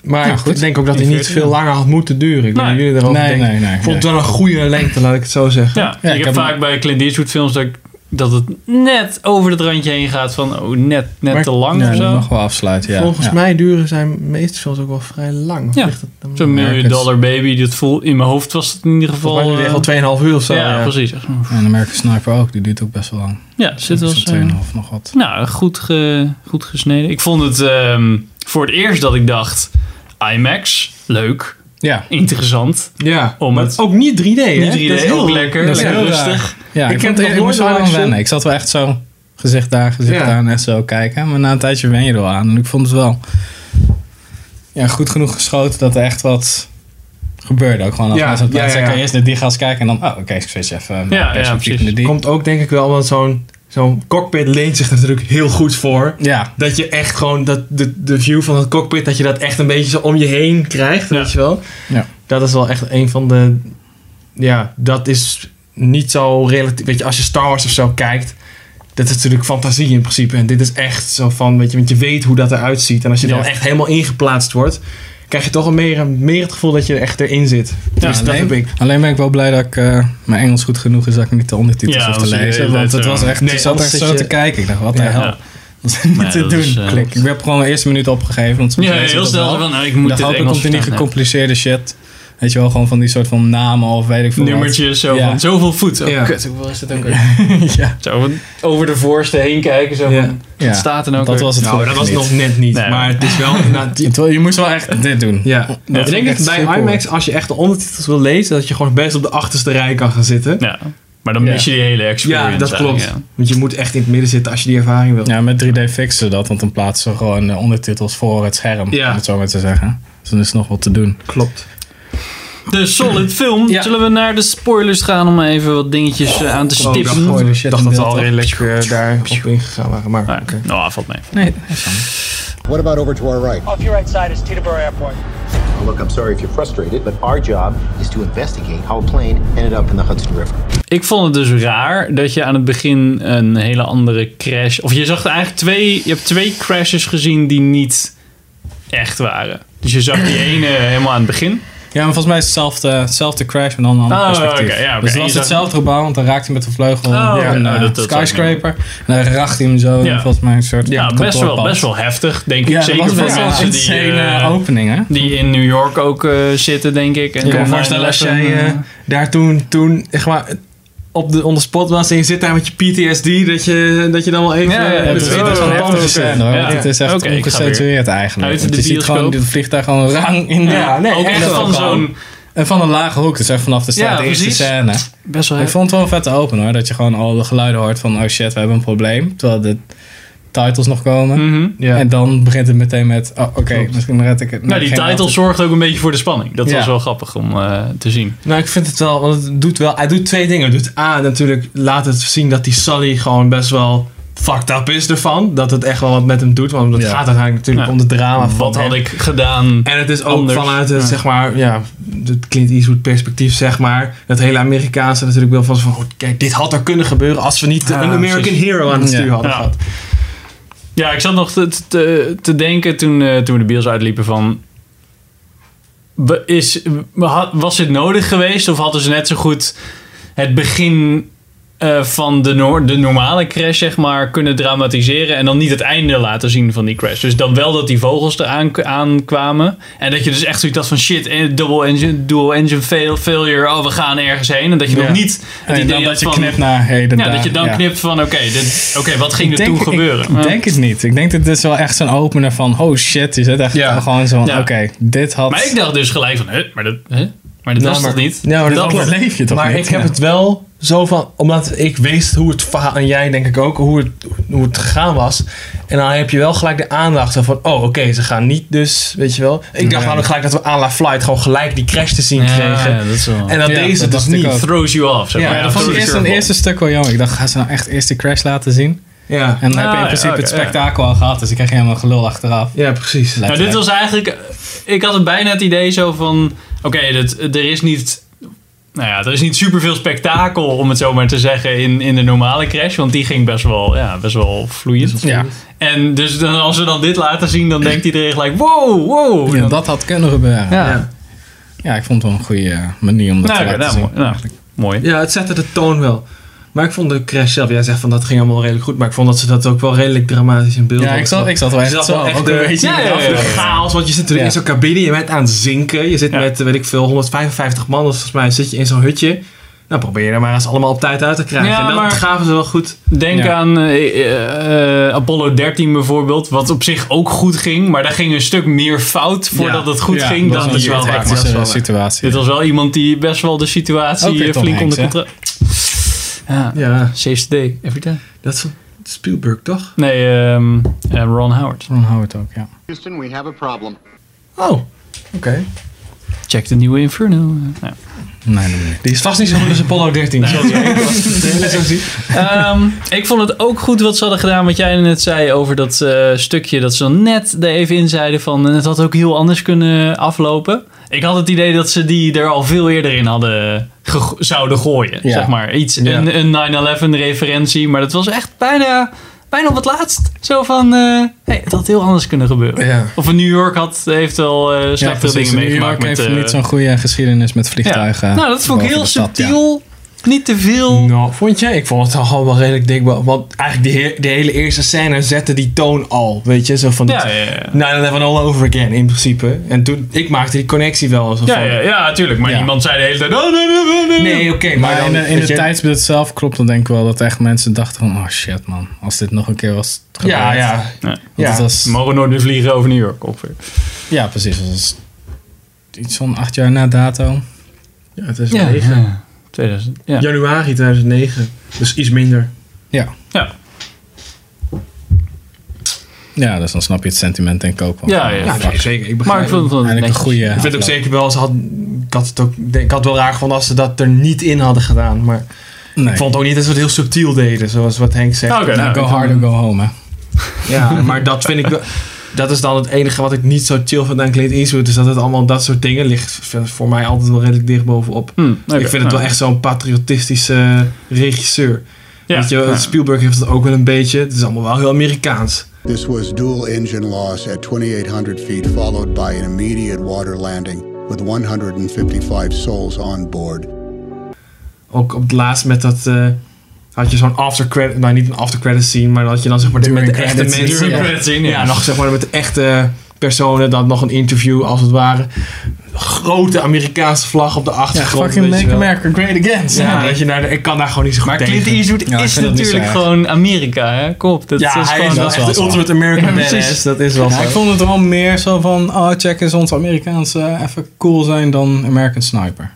Speaker 3: Maar
Speaker 2: Ja,
Speaker 3: ik
Speaker 2: goed.
Speaker 3: denk ook dat hij niet
Speaker 2: 41,
Speaker 3: veel langer had moeten duren. Ik
Speaker 1: Nee.
Speaker 3: weet niet hoe jullie erover
Speaker 2: Nee,
Speaker 3: denken.
Speaker 2: nee, nee,
Speaker 3: ik vond het
Speaker 2: nee.
Speaker 3: wel een goede lengte, laat ik het zo zeggen.
Speaker 1: Ja,
Speaker 2: Ja,
Speaker 1: ik,
Speaker 2: ik
Speaker 1: heb
Speaker 2: heb
Speaker 1: vaak bij Clint Eastwood films dat, ik- dat het net over het randje heen gaat van oh, net, net
Speaker 3: Maar-
Speaker 1: te lang
Speaker 2: Ja,
Speaker 1: of
Speaker 2: dat
Speaker 1: zo.
Speaker 2: mag wel afsluiten, ja.
Speaker 3: Volgens
Speaker 2: Ja.
Speaker 3: mij duren zijn meeste films ook wel vrij lang. Of
Speaker 1: Ja.
Speaker 3: ligt het dan-
Speaker 1: Zo'n miljoen
Speaker 2: Americans.
Speaker 1: dollar baby, dat voel, in mijn hoofd was het in ieder geval...
Speaker 3: Volgens mij duurde
Speaker 1: eh,
Speaker 3: het echt al 2,5 uur of zo.
Speaker 1: ja,
Speaker 3: ja.
Speaker 1: precies. Echt, mm,
Speaker 2: En American Sniper ook, die duurt ook best wel lang. Dus
Speaker 1: Ja, zit wel
Speaker 2: Zo'n
Speaker 1: eens,
Speaker 2: 2,5
Speaker 1: eh,
Speaker 2: nog wat.
Speaker 1: Nou, goed, ge- goed gesneden. Ik vond het ehm, voor het eerst dat ik dacht... IMAX, leuk,
Speaker 2: Ja.
Speaker 1: interessant.
Speaker 3: Ja.
Speaker 1: Om
Speaker 3: maar
Speaker 1: het-
Speaker 3: ook niet 3D, hè?
Speaker 1: Niet 3D,
Speaker 3: Dat is
Speaker 1: ook lekker,
Speaker 3: dat is
Speaker 1: lekker
Speaker 3: heel
Speaker 1: rustig.
Speaker 3: raar.
Speaker 2: ja
Speaker 3: Ik
Speaker 2: ik,
Speaker 3: heb
Speaker 2: vond-
Speaker 3: nog
Speaker 2: ik
Speaker 3: nooit
Speaker 2: moest er wel
Speaker 3: zo'n
Speaker 2: aan
Speaker 3: film-
Speaker 2: wennen. Ik zat wel echt zo gezicht daar, gezicht
Speaker 3: Ja.
Speaker 2: daar en echt zo kijken. Maar na een tijdje wen je er wel aan. En ik vond het wel ja, goed genoeg geschoten dat er echt wat gebeurde. Ook gewoon als
Speaker 3: Ja,
Speaker 2: mensen aan het praten
Speaker 3: ja, ja,
Speaker 2: zijn, kan
Speaker 3: ja.
Speaker 2: je eerst naar die gast kijken en dan, oh oké, ik switch even mijn
Speaker 1: Ja, ja,
Speaker 2: perspectief
Speaker 1: precies.
Speaker 2: naar die.
Speaker 3: Komt ook denk ik wel, want zo'n zo'n cockpit leent zich er natuurlijk heel goed voor.
Speaker 2: Ja,
Speaker 3: Dat je echt gewoon dat, de, de view van het cockpit, dat je dat echt een beetje zo om je heen krijgt,
Speaker 1: Ja.
Speaker 3: weet je wel.
Speaker 2: Ja.
Speaker 3: Dat is wel echt een van de, ja, dat is niet zo relatief, weet je, als je Star Wars of zo kijkt, dat is natuurlijk fantasie in principe. En dit is echt zo van, weet je, want je weet hoe dat eruit ziet. En als je dan
Speaker 1: Ja.
Speaker 3: echt helemaal ingeplaatst wordt, krijg je toch al meer, meer het gevoel dat je er echt erin zit.
Speaker 2: Ja,
Speaker 3: dus dat
Speaker 2: alleen,
Speaker 3: heb ik.
Speaker 2: alleen ben ik wel blij dat ik, eh, mijn Engels goed genoeg is dat ik niet de ondertitels
Speaker 1: Ja,
Speaker 2: hoef te
Speaker 1: dat is-
Speaker 2: lezen.
Speaker 1: dat
Speaker 2: Want
Speaker 1: is,
Speaker 2: het
Speaker 1: eh,
Speaker 2: was echt,
Speaker 3: nee,
Speaker 2: ik zat
Speaker 3: anders
Speaker 2: echt
Speaker 3: zit
Speaker 2: zo
Speaker 3: je-
Speaker 2: te kijken. Ik dacht, wat de
Speaker 3: Ja.
Speaker 2: hel.
Speaker 1: Ja.
Speaker 2: Dat is niet
Speaker 1: Nee,
Speaker 2: te
Speaker 1: dat
Speaker 2: doen.
Speaker 1: is, eh,
Speaker 2: Klik. Ik heb gewoon de eerste minuut opgegeven. Want soms
Speaker 1: Ja,
Speaker 2: lees je
Speaker 1: heel
Speaker 2: dat
Speaker 1: snel
Speaker 2: wel.
Speaker 1: van, nou, ik moet
Speaker 2: Dan
Speaker 1: dit
Speaker 2: hopelijk
Speaker 1: Engels
Speaker 2: komt er niet
Speaker 1: verstaan, ja.
Speaker 2: gecompliceerde shit. Weet je wel, gewoon van die soort van namen of weet ik veel wat.
Speaker 1: Nummertjes, zo
Speaker 2: Ja.
Speaker 1: van zoveel voet. Oh,
Speaker 3: Ja.
Speaker 1: kut, hoeveel is dat ook weer?
Speaker 2: ja.
Speaker 1: Zo van over de voorste heen kijken, zo van,
Speaker 3: Ja.
Speaker 1: wat
Speaker 2: Ja.
Speaker 1: staat er nou ook
Speaker 2: Dat
Speaker 1: weer?
Speaker 2: was het
Speaker 3: Nou, dat
Speaker 2: gelukkig
Speaker 3: was
Speaker 2: niet.
Speaker 3: nog net niet,
Speaker 1: Nee.
Speaker 3: maar het is wel inderdaad-
Speaker 2: Het wel- Je moest wel echt dit doen.
Speaker 3: Ja, ik denk
Speaker 2: echt
Speaker 3: dat bij
Speaker 2: super.
Speaker 3: IMAX, als je echt de ondertitels wil lezen, dat je gewoon best op de achterste rij kan gaan zitten.
Speaker 1: Ja, maar dan
Speaker 2: Ja.
Speaker 1: mis je die hele experience.
Speaker 3: Ja, dat klopt.
Speaker 1: eigenlijk, ja.
Speaker 3: Want je moet echt in het midden zitten als je die ervaring wil.
Speaker 2: Ja, met 3D fixen ze dat, want dan plaatsen ze gewoon de ondertitels voor het scherm,
Speaker 3: Ja.
Speaker 2: om het zo maar te zeggen. Dus dan is nog wat te doen.
Speaker 3: klopt.
Speaker 1: De solid film.
Speaker 2: Ja.
Speaker 1: Zullen we naar de spoilers gaan om even wat dingetjes eh, aan te
Speaker 2: Oh,
Speaker 3: ik dacht,
Speaker 1: stippen?
Speaker 3: gewoon, ik dacht dat we
Speaker 2: in
Speaker 3: al
Speaker 2: beeld,
Speaker 3: redelijk eh, daarop ingegaan waren. Maar
Speaker 1: Ah,
Speaker 3: oké.
Speaker 1: Nou, valt mee.
Speaker 7: What about over to our right?
Speaker 8: Off your right side is Teterboro Airport.
Speaker 7: Now, look, I'm sorry if you're frustrated, but our job is to investigate how a plane ended up in the Hudson River.
Speaker 1: Ik vond het dus raar dat je aan het begin een hele andere crash. Of je zag eigenlijk twee. Je hebt twee crashes gezien die niet echt waren. Dus je zag die ene helemaal aan het begin.
Speaker 2: Ja, maar volgens mij is het hetzelfde, hetzelfde crash, maar dan een ander
Speaker 1: Oh,
Speaker 2: perspectief.
Speaker 1: oké, ja, oké.
Speaker 2: Dus
Speaker 1: En
Speaker 2: het
Speaker 1: je
Speaker 2: was
Speaker 1: zag-
Speaker 2: hetzelfde gebouw, want dan raakt hij met de vleugel
Speaker 1: Oh,
Speaker 2: op
Speaker 1: ja,
Speaker 2: een
Speaker 1: nou,
Speaker 2: eh,
Speaker 1: dat- dat zou ik
Speaker 2: skyscraper. En dan racht hij hem zo,
Speaker 1: Ja.
Speaker 2: volgens mij een soort
Speaker 1: Ja, Nou, best, wel,
Speaker 2: kantoorpand.
Speaker 1: best wel heftig, denk ik.
Speaker 2: Ja, dat
Speaker 1: Zeker
Speaker 2: was
Speaker 1: voor
Speaker 2: best wel een
Speaker 1: mensen die,
Speaker 2: insane
Speaker 1: eh,
Speaker 2: eh, opening, hè?
Speaker 1: die in New York ook eh, zitten, denk ik. En
Speaker 3: Ik kan me
Speaker 1: dan
Speaker 3: voorstellen als
Speaker 1: even,
Speaker 3: jij eh,
Speaker 1: eh,
Speaker 3: daar toen, toen echt maar, eh, op de, on the spot was en je zit daar met je PTSD, dat je, dat je dan wel even...
Speaker 1: Ja, ja,
Speaker 3: eh,
Speaker 1: ja,
Speaker 2: Het is
Speaker 1: precies.
Speaker 3: oh,
Speaker 2: best wel een heftige scène, hoor.
Speaker 1: Ja.
Speaker 2: want Het is echt
Speaker 1: Oké, ik ga
Speaker 2: ongecensureerd eigenlijk.
Speaker 1: Uit
Speaker 2: Want
Speaker 1: de
Speaker 2: je ziet
Speaker 1: bioscoop.
Speaker 2: gewoon dit vliegtuig gewoon rang in de...
Speaker 3: Ja, nee,
Speaker 1: ook
Speaker 3: echt
Speaker 1: echt
Speaker 3: wel
Speaker 1: van
Speaker 3: gewoon.
Speaker 1: zo'n.
Speaker 2: En van een lage hoek, dus echt vanaf de straat,
Speaker 1: Ja,
Speaker 2: de eerste
Speaker 1: precies.
Speaker 2: scène.
Speaker 1: Best wel
Speaker 2: Ik
Speaker 1: heftig.
Speaker 2: vond het wel vet te open hoor, dat je gewoon al de geluiden hoort van oh shit, we hebben een probleem. Terwijl de titles nog komen.
Speaker 1: Mhm.
Speaker 3: Ja.
Speaker 2: En dan begint het meteen met, oh, oké, misschien red ik het.
Speaker 1: Nou, die
Speaker 2: geen
Speaker 1: title
Speaker 2: altijd.
Speaker 1: zorgt ook een beetje voor de spanning. Dat
Speaker 2: Ja.
Speaker 1: was wel grappig om eh, te zien.
Speaker 3: Nou, ik vind het wel, want het doet wel, hij doet twee dingen. Het doet A, natuurlijk laat het zien dat die Sally gewoon best wel fucked up is ervan. Dat het echt wel wat met hem doet, want het
Speaker 2: Ja.
Speaker 3: gaat uiteindelijk natuurlijk
Speaker 1: Ja.
Speaker 3: om de drama van
Speaker 1: Wat
Speaker 3: hem.
Speaker 1: had ik gedaan?
Speaker 3: En het is ook
Speaker 1: anders?
Speaker 3: vanuit het,
Speaker 1: Ja.
Speaker 3: zeg maar, ja, het Clint Eastwood perspectief, zeg maar. Dat hele Amerikaanse natuurlijk wel van, zo van, oh, kijk, dit had er kunnen gebeuren als we niet
Speaker 1: Ja,
Speaker 3: een American
Speaker 1: precies.
Speaker 3: Hero aan het
Speaker 2: Ja.
Speaker 3: stuur hadden
Speaker 1: Ja.
Speaker 3: gehad.
Speaker 1: Ja, ik zat nog te, te, te denken toen, eh, toen we de bios uitliepen van... we- Is, had- was dit nodig geweest of hadden ze net zo goed het begin eh, van de, noor- de normale crash zeg maar, kunnen dramatiseren en dan niet het einde laten zien van die crash? Dus dan wel dat die vogels eraan k- aankwamen en dat je dus echt zoiets had van shit, eh, double engine, dual engine fail, failure, oh we gaan ergens heen. En dat je
Speaker 2: Ja.
Speaker 1: nog niet het
Speaker 2: En
Speaker 1: idee
Speaker 2: dan
Speaker 1: had
Speaker 2: dat je
Speaker 1: van-
Speaker 2: knipt naar heden
Speaker 1: ja, dat je dan knipt van oké, dit- oké, wat ging er toen gebeuren?
Speaker 2: Ik
Speaker 1: Ja.
Speaker 2: denk het niet. Ik denk dat dit is wel echt zo'n opener van... Oh shit, je zit echt
Speaker 3: Ja.
Speaker 2: gewoon zo van...
Speaker 1: Ja.
Speaker 2: Oké, dit had...
Speaker 1: Maar ik dacht dus gelijk van, hè, maar dat, hè? Maar
Speaker 2: Nou,
Speaker 1: dat was
Speaker 3: maar-
Speaker 1: toch niet?
Speaker 3: Ja, maar
Speaker 2: dat
Speaker 3: klopt.
Speaker 2: overleef je toch
Speaker 3: Maar
Speaker 2: niet?
Speaker 3: ik heb
Speaker 2: Ja.
Speaker 3: het wel zo van... Omdat ik wist hoe het verhaal... En jij denk ik ook, hoe het, hoe het gegaan was. En dan heb je wel gelijk de aandacht van... Oh, oké, ze gaan niet dus, weet je wel. Ik dacht
Speaker 2: Nee.
Speaker 3: gewoon gelijk dat we aan La Flight... gewoon gelijk die crash te zien kregen.
Speaker 1: dat is wel...
Speaker 3: En dat
Speaker 2: Ja,
Speaker 3: deze
Speaker 2: dat
Speaker 3: dus
Speaker 2: dacht ik
Speaker 3: niet.
Speaker 2: ook.
Speaker 1: throws you off, zeg
Speaker 3: Ja,
Speaker 1: maar.
Speaker 3: dat
Speaker 1: dat
Speaker 2: vond
Speaker 1: was
Speaker 2: ik eerst een eerste stuk wel jammer. Ik dacht, gaan ze nou echt eerst de crash laten zien?
Speaker 3: Ja.
Speaker 2: En dan heb
Speaker 1: Ah,
Speaker 2: je in
Speaker 1: ja,
Speaker 2: principe het
Speaker 1: oké, ja.
Speaker 2: spektakel al gehad. Dus ik krijg helemaal gelul achteraf.
Speaker 3: ja, precies.
Speaker 1: Nou, dit was eigenlijk... Ik had het bijna het idee zo van... Oké, dit- er is niet... Nou ja, er is niet superveel spektakel, om het zo maar te zeggen, in, in de normale crash. Want die ging best wel, ja, best wel vloeiend.
Speaker 2: Ja.
Speaker 1: En dus dan, als we dan dit laten zien, dan denkt iedereen gelijk, wow, wow.
Speaker 2: Ja, dat had kunnen gebeuren. Ja.
Speaker 1: ja.
Speaker 2: ik vond het wel een goede eh, manier om dat
Speaker 1: Nou,
Speaker 2: te
Speaker 1: oké,
Speaker 2: laten
Speaker 1: nou,
Speaker 2: zien.
Speaker 1: mooi, nou, mooi.
Speaker 3: Ja, het zette de toon wel. Maar ik vond de crash zelf... Jij zegt van dat ging allemaal redelijk goed. Maar ik vond dat ze dat ook wel redelijk dramatisch in beeld
Speaker 2: Ja, ik
Speaker 3: hadden
Speaker 2: zat,
Speaker 3: gezet.
Speaker 2: ik zat wel
Speaker 3: Je
Speaker 2: echt
Speaker 3: zat
Speaker 2: zo.
Speaker 3: wel echt
Speaker 2: ook
Speaker 3: de-
Speaker 2: een beetje
Speaker 1: Ja, ja, ja,
Speaker 3: De
Speaker 1: ja.
Speaker 3: chaos, want je zit natuurlijk
Speaker 2: Ja.
Speaker 3: in zo'n cabine, je bent aan het zinken. Je zit
Speaker 1: Ja.
Speaker 3: met, eh, weet ik veel, 155 man, dus volgens mij zit je in zo'n hutje. Nou, probeer je er maar eens allemaal op tijd uit te krijgen.
Speaker 1: Ja,
Speaker 3: en dat
Speaker 1: maar-
Speaker 3: gaven ze wel goed.
Speaker 1: Denk
Speaker 2: Ja.
Speaker 1: aan eh, eh, eh, Apollo 13 bijvoorbeeld, wat op zich ook goed ging, maar daar ging een stuk meer fout voordat het goed
Speaker 2: Ja,
Speaker 1: ging dan
Speaker 2: was
Speaker 1: het
Speaker 2: een
Speaker 1: wel
Speaker 2: soort
Speaker 1: waar.
Speaker 2: hectische
Speaker 3: Dat is wel waar.
Speaker 2: situatie.
Speaker 1: Dit was wel iemand die best wel de situatie
Speaker 2: Ook weer
Speaker 1: eh,
Speaker 2: Tom
Speaker 1: flink onder
Speaker 2: Hanks, hè?
Speaker 1: controle. Ja,
Speaker 3: Ja,
Speaker 1: saves the day, every time.
Speaker 3: dat is van Spielberg, toch?
Speaker 1: Nee, ehm, eh, Ron Howard.
Speaker 2: Ron Howard ook, ja.
Speaker 5: Houston, we have a problem.
Speaker 3: Oh, oké.
Speaker 1: Check de nieuwe Inferno. eh, ja.
Speaker 2: Nee, nee, nee.
Speaker 3: Die is vast niet zo goed als Apollo 13. zoals jij de hele zo ziet.
Speaker 1: Ehm, ik vond het ook goed wat ze hadden gedaan, wat jij net zei over dat eh, stukje dat ze dan net er even in zeiden van eh, het had ook heel anders kunnen aflopen. Ik had het idee dat ze die er al veel eerder in hadden gego- zouden gooien,
Speaker 2: Ja.
Speaker 1: zeg maar. Iets,
Speaker 3: Ja.
Speaker 1: een, een 9-11 referentie, maar dat was echt bijna, bijna op het laatst. Zo van, eh, hey, het had heel anders kunnen gebeuren.
Speaker 3: Ja.
Speaker 1: Of in New York had, heeft wel eh
Speaker 2: Ja,
Speaker 1: slechte
Speaker 2: precies.
Speaker 1: dingen
Speaker 2: New
Speaker 1: meegemaakt.
Speaker 2: York
Speaker 1: met,
Speaker 2: heeft
Speaker 1: eh,
Speaker 2: niet zo'n goede geschiedenis met
Speaker 1: ja.
Speaker 2: vliegtuigen.
Speaker 1: Nou, dat vond ik
Speaker 2: boven
Speaker 1: heel
Speaker 2: de stad, ja. Mm.
Speaker 1: subtiel. Niet te veel.
Speaker 3: Nou, vond jij? Ik vond het al wel redelijk dik. Want eigenlijk die, he- de hele eerste scène zette die toon al. Weet je, zo van...
Speaker 1: Ja, ja, ja.
Speaker 3: Nou, dat hebben we all over again, in principe. En toen, ik maakte die connectie wel. Zo
Speaker 1: Ja,
Speaker 3: van,
Speaker 1: ja, ja, tuurlijk. Maar
Speaker 2: Ja.
Speaker 1: niemand zei de hele tijd... Oh, nee, nee, nee, nee.
Speaker 3: Nee, oké, maar,
Speaker 2: Maar
Speaker 3: dan...
Speaker 2: in de, in
Speaker 3: weet
Speaker 2: het
Speaker 3: je-
Speaker 2: tijdsbeeld zelf klopt dan denk ik wel dat echt mensen dachten van... Oh shit man, als dit nog een keer was gebeurd.
Speaker 3: Ja, ja.
Speaker 1: Nee.
Speaker 2: Want het
Speaker 3: Ja.
Speaker 2: was-
Speaker 1: Ze mogen nooit meer vliegen over New York, ongeveer.
Speaker 2: ja precies. Dat was iets van acht jaar na dato.
Speaker 3: Ja, het is
Speaker 1: Ja. 2000. Ja.
Speaker 3: Januari 2009. Dus iets minder.
Speaker 2: Ja.
Speaker 1: Ja.
Speaker 2: Ja, dus dan snap je het sentiment denk ik ook wel.
Speaker 1: Ja, ja.
Speaker 2: Fuck.
Speaker 3: zeker. Ik
Speaker 1: Maar ik vond het wel
Speaker 2: Eigenlijk een
Speaker 1: netjes.
Speaker 2: goede...
Speaker 3: Ik vind het ook zeker wel, ze had, ik, had het ook, ik had het wel raar gevonden als ze dat er niet in hadden gedaan. Maar
Speaker 2: Nee.
Speaker 3: ik vond ook niet dat ze het heel subtiel deden, zoals wat Henk zegt.
Speaker 1: Oké,
Speaker 2: Nou,
Speaker 1: nou,
Speaker 2: go
Speaker 1: ik-
Speaker 2: hard or go home hè.
Speaker 3: Ja, maar dat vind ik wel... Dat is dan het enige wat ik niet zo chill vind aan Clint Eastwood. Is dat het allemaal dat soort dingen ligt v- voor mij altijd wel redelijk dicht bovenop.
Speaker 1: Hm, oké,
Speaker 3: ik vind het
Speaker 1: nou.
Speaker 3: wel echt zo'n patriotistische eh, regisseur.
Speaker 1: Ja.
Speaker 3: Weet je, wel,
Speaker 1: Ja.
Speaker 3: Spielberg heeft dat ook wel een beetje. Het is allemaal wel heel Amerikaans.
Speaker 9: This was dual engine loss at 2,800 feet, followed by an immediate water landing with 155 souls on board.
Speaker 3: ook op het laatst met dat. eh, had je zo'n after credit, nou niet een after credit scene, maar dat je dan zeg maar
Speaker 2: During
Speaker 3: met de echte
Speaker 2: credits,
Speaker 3: mensen.
Speaker 2: during
Speaker 1: credits scene,
Speaker 3: ja.
Speaker 1: ja.
Speaker 3: nog zeg maar met de echte personen, dan nog een interview als het ware. Grote Amerikaanse vlag op de achtergrond.
Speaker 2: fucking
Speaker 3: weet je
Speaker 2: make
Speaker 3: wel.
Speaker 2: America great again.
Speaker 3: Ja, weet je, nou, ik kan daar gewoon niet zo goed
Speaker 1: Maar Clint
Speaker 3: tegen.
Speaker 1: Eastwood
Speaker 2: Ja, ik
Speaker 1: is
Speaker 2: vind dat niet
Speaker 1: natuurlijk
Speaker 2: zo erg.
Speaker 1: gewoon Amerika, hè? Kom op, dat
Speaker 3: Ja,
Speaker 1: is
Speaker 3: hij
Speaker 1: gewoon...
Speaker 3: is wel
Speaker 2: dat is wel
Speaker 3: echt de
Speaker 2: zo.
Speaker 3: ultimate American
Speaker 1: Ja, precies.
Speaker 3: badass. Dat is wel
Speaker 2: Ja, ik
Speaker 3: zo.
Speaker 2: vond het wel meer zo van, oh check eens ons Amerikaanse eh, even cool zijn dan American Sniper.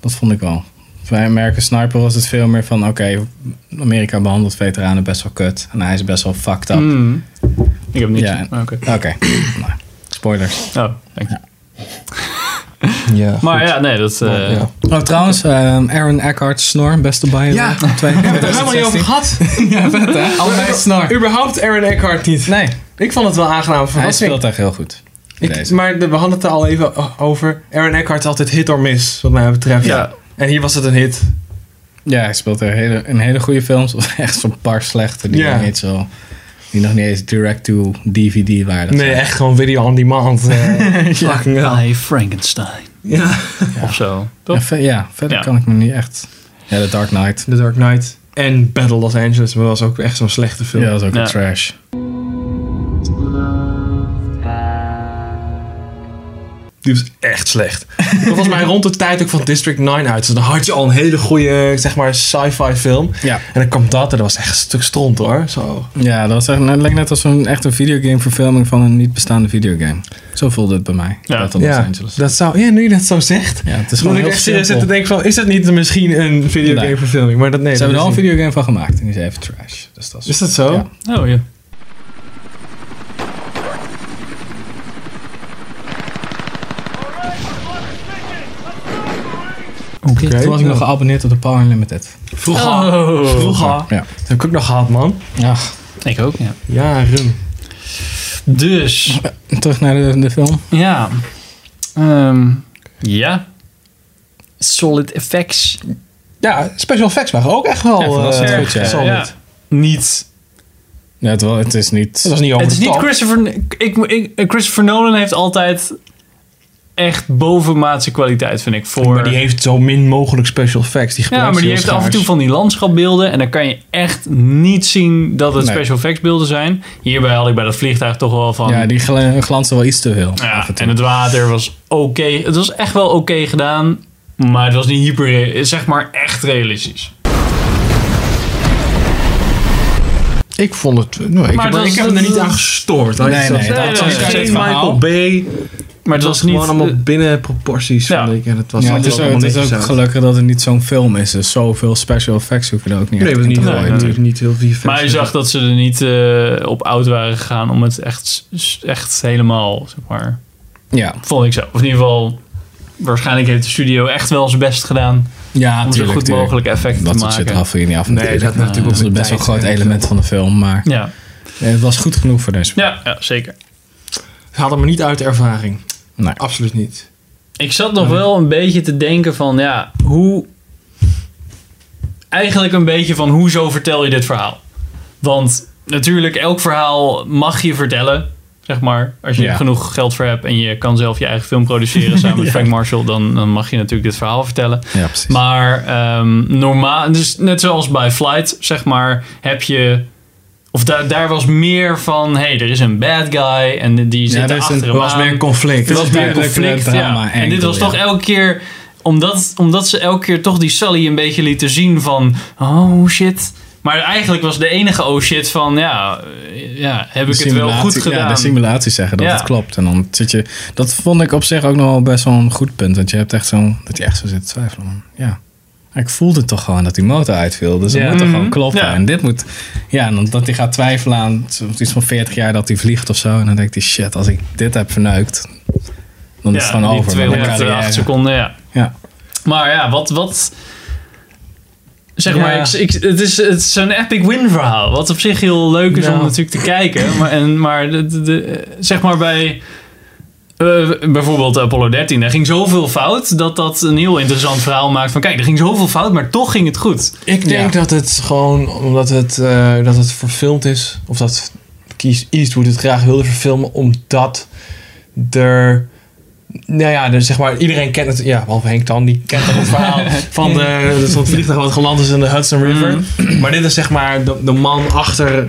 Speaker 2: Dat vond ik wel. Bij American Sniper was het veel meer van, oké, Amerika behandelt veteranen best wel kut. En hij is best wel fucked up.
Speaker 3: Mm.
Speaker 1: Hm. Ik heb niks.
Speaker 2: Ja.
Speaker 1: Oh, Oké.
Speaker 2: Oké, nou, spoilers.
Speaker 1: Oh, dank je.
Speaker 3: Ja,
Speaker 1: Maar ja, nee, dat... eh,
Speaker 3: ja.
Speaker 2: Oh, trouwens, ehm, Aaron Eckhart snor, beste bijen.
Speaker 3: Ja.
Speaker 2: twee. Ja,
Speaker 3: Daar hebben we het helemaal niet over gehad.
Speaker 2: Ja, vet hè? Allebei snor.
Speaker 3: Überhaupt Aaron Eckhart niet.
Speaker 2: Nee,
Speaker 3: Ik vond het wel aangenaam.
Speaker 2: hij
Speaker 3: verrassing.
Speaker 2: speelt echt heel goed.
Speaker 3: Ik-
Speaker 2: Deze.
Speaker 3: maar de- we hadden het er al even o- over. Aaron Eckhart is altijd hit or miss, wat mij betreft.
Speaker 1: Ja.
Speaker 3: En hier was het een hit.
Speaker 2: Ja, hij speelt er hele, in hele goede films. Of echt zo'n paar slechte die
Speaker 3: Ja.
Speaker 2: niet zo... Die nog niet eens direct to DVD waren.
Speaker 3: Nee, echt gewoon video on demand. eh, fucking hell.
Speaker 1: Hi Frankenstein.
Speaker 3: Ja.
Speaker 1: Of zo.
Speaker 2: Ja,
Speaker 1: Toch?
Speaker 2: ve- ja, verder
Speaker 1: Ja.
Speaker 2: kan ik me niet echt. Ja, The Dark Knight.
Speaker 3: The Dark Knight en Battle Los Angeles, maar dat was ook echt zo'n slechte film.
Speaker 2: Ja, dat is ook
Speaker 1: Ja.
Speaker 2: een trash.
Speaker 3: Die was echt slecht. Dat was mij rond de tijd ook van District 9 uit. Dus dan had je al een hele goede, zeg maar, sci-fi film.
Speaker 2: Ja.
Speaker 3: En dan kwam dat en dat was echt een stuk stront hoor. Zo.
Speaker 2: Ja, dat was echt, nou, het leek net als een, echt een videogameverfilming van een niet bestaande videogame. Zo voelde het bij mij.
Speaker 1: Ja.
Speaker 2: Battle Los
Speaker 3: ja,
Speaker 2: Angeles.
Speaker 3: dat zou, ja, nu je dat zo zegt.
Speaker 2: Ja, het is
Speaker 3: Dan
Speaker 2: gewoon
Speaker 3: ik
Speaker 2: heel
Speaker 3: echt serieus zit
Speaker 2: simpel.
Speaker 3: te denken van, is dat niet misschien een videogame verfilming? Maar dat nee.
Speaker 2: Ze hebben er al
Speaker 3: dat
Speaker 2: nou een
Speaker 3: is
Speaker 2: videogame
Speaker 3: niet.
Speaker 2: van gemaakt en die is even trash. Dus dat is,
Speaker 3: Is dat zo?
Speaker 2: Ja.
Speaker 1: Oh ja. Oké.
Speaker 3: Oké.
Speaker 2: Toen was ik nog geabonneerd op de Power Unlimited.
Speaker 3: Vroeger.
Speaker 1: Oh.
Speaker 3: Vroeger.
Speaker 2: Ja.
Speaker 3: Dat heb ik ook nog gehad, man.
Speaker 2: Ach,
Speaker 1: Ik ook, ja.
Speaker 3: Jaren.
Speaker 1: Dus,
Speaker 2: terug naar de, de film.
Speaker 1: ja. Ehm, ja. Solid effects.
Speaker 3: Ja, special effects waren ook echt wel
Speaker 2: Ja, dat was
Speaker 3: eh,
Speaker 2: echt goed, ja.
Speaker 3: solid.
Speaker 1: Ja. Niet.
Speaker 2: Ja, het, wel- het is niet...
Speaker 3: Dat was niet over
Speaker 1: Het is
Speaker 3: de
Speaker 1: niet
Speaker 3: top.
Speaker 1: Christopher... Ik, ik, Christopher Nolan heeft altijd echt bovenmaatse kwaliteit, vind ik. Voor,
Speaker 3: Maar die heeft zo min mogelijk special effects. Die
Speaker 1: Ja,
Speaker 3: gebruikt
Speaker 1: maar die
Speaker 3: heel
Speaker 1: heeft af en
Speaker 3: schaars.
Speaker 1: toe van die landschapbeelden. En dan kan je echt niet zien dat het
Speaker 2: Nee.
Speaker 1: special effects beelden zijn. Hierbij had ik bij dat vliegtuig toch wel van... nou
Speaker 2: Ja, die gla- glansen wel iets te veel.
Speaker 1: Ja,
Speaker 2: af en toe.
Speaker 1: en het water was oké. Het was echt wel oké gedaan. Maar het was niet hyper... Zeg maar echt realistisch.
Speaker 3: Ik vond het... Nou, ik
Speaker 1: Maar
Speaker 3: heb,
Speaker 1: dat
Speaker 3: ik
Speaker 1: is-
Speaker 3: heb me er niet aan gestoord.
Speaker 2: Nee, nee,
Speaker 1: nee,
Speaker 2: dat
Speaker 3: was
Speaker 1: nee, nee.
Speaker 3: geen
Speaker 1: Het
Speaker 3: Michael
Speaker 2: verhaal.
Speaker 3: Bay.
Speaker 1: Maar het
Speaker 3: Het
Speaker 1: was,
Speaker 3: was
Speaker 1: niet...
Speaker 3: gewoon allemaal
Speaker 1: de-
Speaker 3: binnen proporties,
Speaker 1: Ja.
Speaker 3: vond ik. En het was
Speaker 2: ja, het is, ook,
Speaker 3: allemaal
Speaker 2: het is
Speaker 3: netjes
Speaker 2: ook
Speaker 3: uit.
Speaker 2: gelukkig dat het niet zo'n film is. Dus zoveel special effects hoef je er ook niet
Speaker 3: Nee,
Speaker 2: echt
Speaker 3: we
Speaker 2: in
Speaker 3: niet,
Speaker 2: te
Speaker 1: nee,
Speaker 2: gooien.
Speaker 1: nee.
Speaker 3: natuurlijk niet heel veel
Speaker 1: maar je zag dat ze er niet eh, op oud waren gegaan om het echt, echt helemaal, zeg maar...
Speaker 2: Ja,
Speaker 1: Vond ik zo. Of in ieder geval... Waarschijnlijk heeft de studio echt wel zijn best gedaan.
Speaker 2: ja
Speaker 1: om zo
Speaker 2: tuurlijk,
Speaker 1: goed
Speaker 2: tuurlijk.
Speaker 1: mogelijk effecten
Speaker 2: Dat
Speaker 1: te
Speaker 2: soort
Speaker 1: maken.
Speaker 2: shit haal je niet af
Speaker 3: Nee,
Speaker 2: natuurlijk.
Speaker 3: dat natuurlijk ook
Speaker 2: dat is
Speaker 3: met
Speaker 2: best wel een
Speaker 3: tijd
Speaker 2: groot
Speaker 3: en zo.
Speaker 2: element van de film. Maar
Speaker 1: Ja,
Speaker 2: het was goed genoeg voor deze film.
Speaker 1: ja, ja zeker.
Speaker 3: Haal me niet uit de ervaring.
Speaker 2: Nee.
Speaker 3: Absoluut niet.
Speaker 1: Ik zat nog wel een beetje te denken van, ja, hoe... Eigenlijk een beetje van, hoezo vertel je dit verhaal? Want natuurlijk, elk verhaal mag je vertellen, zeg maar. Als je
Speaker 2: Ja.
Speaker 1: er genoeg geld voor hebt en je kan zelf je eigen film produceren samen met Frank Marshall, dan, dan mag je natuurlijk dit verhaal vertellen.
Speaker 2: Ja, precies.
Speaker 1: Maar ehm, normaal, dus net zoals bij Flight, zeg maar, heb je... Of daar daar was meer van, hey, er is een bad guy en die zit
Speaker 2: Ja,
Speaker 1: er
Speaker 2: er is een-
Speaker 1: achter hem
Speaker 2: er was
Speaker 1: aan.
Speaker 2: meer conflict.
Speaker 1: Er was
Speaker 2: Het is
Speaker 1: meer
Speaker 2: duidelijk
Speaker 1: conflict,
Speaker 2: een drama
Speaker 1: ja. En
Speaker 2: angle,
Speaker 1: dit was toch
Speaker 2: ja.
Speaker 1: elke keer... Omdat, omdat ze elke keer toch die Sully een beetje lieten zien van... Oh, shit. Maar eigenlijk was de enige oh shit van... Ja, eh, ja heb ik het wel goed
Speaker 2: Simulatie- Ja,
Speaker 1: gedaan?
Speaker 2: de simulatie zeggen dat
Speaker 1: Ja.
Speaker 2: het klopt. En dan zit je... Dat vond ik op zich ook nog wel best wel een goed punt. Want je hebt echt zo'n... Dat je echt zo zit te twijfelen. man. Ja. Ik voelde toch gewoon dat die motor uitviel. Dus dat
Speaker 3: Ja.
Speaker 2: moet toch gewoon kloppen.
Speaker 1: Ja.
Speaker 2: En dit moet... Ja, en dan dat hij gaat twijfelen aan zo- iets van 40 jaar dat hij vliegt of zo. En dan denkt hij, shit, als ik dit heb verneukt... Dan
Speaker 1: ja,
Speaker 2: is het gewoon
Speaker 1: die
Speaker 2: over. met mijn
Speaker 1: 208
Speaker 2: carrière.
Speaker 1: seconden, ja.
Speaker 2: Ja.
Speaker 1: Maar ja, wat... wat Zeg
Speaker 3: Ja.
Speaker 1: maar, ik, ik, het is, het is een epic win verhaal. Wat op zich heel leuk is om
Speaker 3: Ja.
Speaker 1: natuurlijk te kijken. Maar, en, maar de, de- de- zeg maar bij eh, bijvoorbeeld Apollo 13. Daar ging zoveel fout dat dat een heel interessant verhaal maakt. Van kijk, er ging zoveel fout, maar toch ging het goed.
Speaker 3: Ik denk
Speaker 2: Ja.
Speaker 3: dat het gewoon omdat het, eh, dat het verfilmd is, of dat Kies Eastwood het graag wilde verfilmen, omdat er. Nou ja, dus zeg maar, iedereen kent het. Ja, behalve Henk Tan, die kent het verhaal van de, dat soort vliegtuig wat geland is in de Hudson River.
Speaker 2: Mm.
Speaker 3: Maar dit is zeg maar de, de man achter,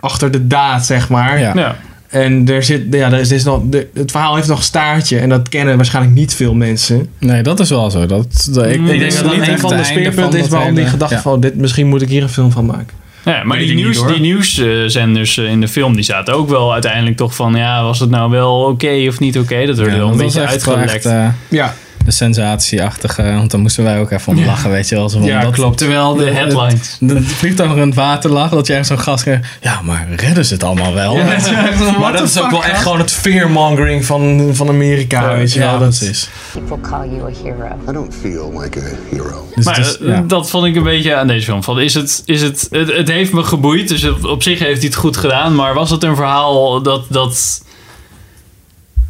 Speaker 3: achter de daad, zeg maar.
Speaker 2: Ja.
Speaker 1: Ja.
Speaker 3: En er zit, ja, er is, er is nog, de- het verhaal heeft nog staartje en dat kennen waarschijnlijk niet veel mensen.
Speaker 2: Nee, dat is wel zo. Dat, dat- ik,
Speaker 1: denk
Speaker 3: Ik
Speaker 1: dat
Speaker 3: denk
Speaker 1: is
Speaker 3: dat
Speaker 1: niet
Speaker 3: dat een
Speaker 2: echt
Speaker 3: van de
Speaker 2: het einde
Speaker 3: speerpunten
Speaker 2: van
Speaker 3: is
Speaker 2: dat
Speaker 3: waarom die
Speaker 2: hele-
Speaker 3: gedacht
Speaker 2: ja.
Speaker 3: van, dit, misschien moet ik hier een film van maken.
Speaker 1: Ja, maar
Speaker 3: Weet
Speaker 1: die,
Speaker 3: ik niet,
Speaker 1: nieuws,
Speaker 3: hoor.
Speaker 1: die nieuwszenders eh, in de film die zaten ook wel uiteindelijk toch van... Ja, was het nou wel oké of niet oké? Dat werd
Speaker 2: Ja,
Speaker 1: wel een
Speaker 2: dat was
Speaker 1: beetje
Speaker 2: echt wel
Speaker 1: uitgelekt.
Speaker 2: echt, eh,
Speaker 3: Ja,
Speaker 2: de sensatieachtige, want dan moesten wij ook even om lachen, weet je wel. Zo van,
Speaker 3: Ja,
Speaker 2: dat,
Speaker 3: klopt.
Speaker 2: Terwijl
Speaker 1: de headlines.
Speaker 2: Het, dus het vliegtuig nog in het water lag, dat je ergens zo'n gast kreeg, ja, maar redden ze het allemaal wel? Weet je wel, echt zo,
Speaker 3: maar
Speaker 2: what
Speaker 3: dat
Speaker 2: the
Speaker 3: is ook
Speaker 2: fuck,
Speaker 3: wel
Speaker 2: gast?
Speaker 3: echt gewoon het fearmongering van, van Amerika,
Speaker 2: Ja,
Speaker 3: weet je wel.
Speaker 2: dat is.
Speaker 6: People call you a hero.
Speaker 9: I don't feel like a hero.
Speaker 2: Dus
Speaker 1: Maar
Speaker 2: het is-
Speaker 1: eh,
Speaker 2: ja.
Speaker 1: dat vond ik een beetje aan deze film. Van, is het, is het, het, het heeft me geboeid, dus op, op zich heeft hij het goed gedaan. Maar was het een verhaal dat... dat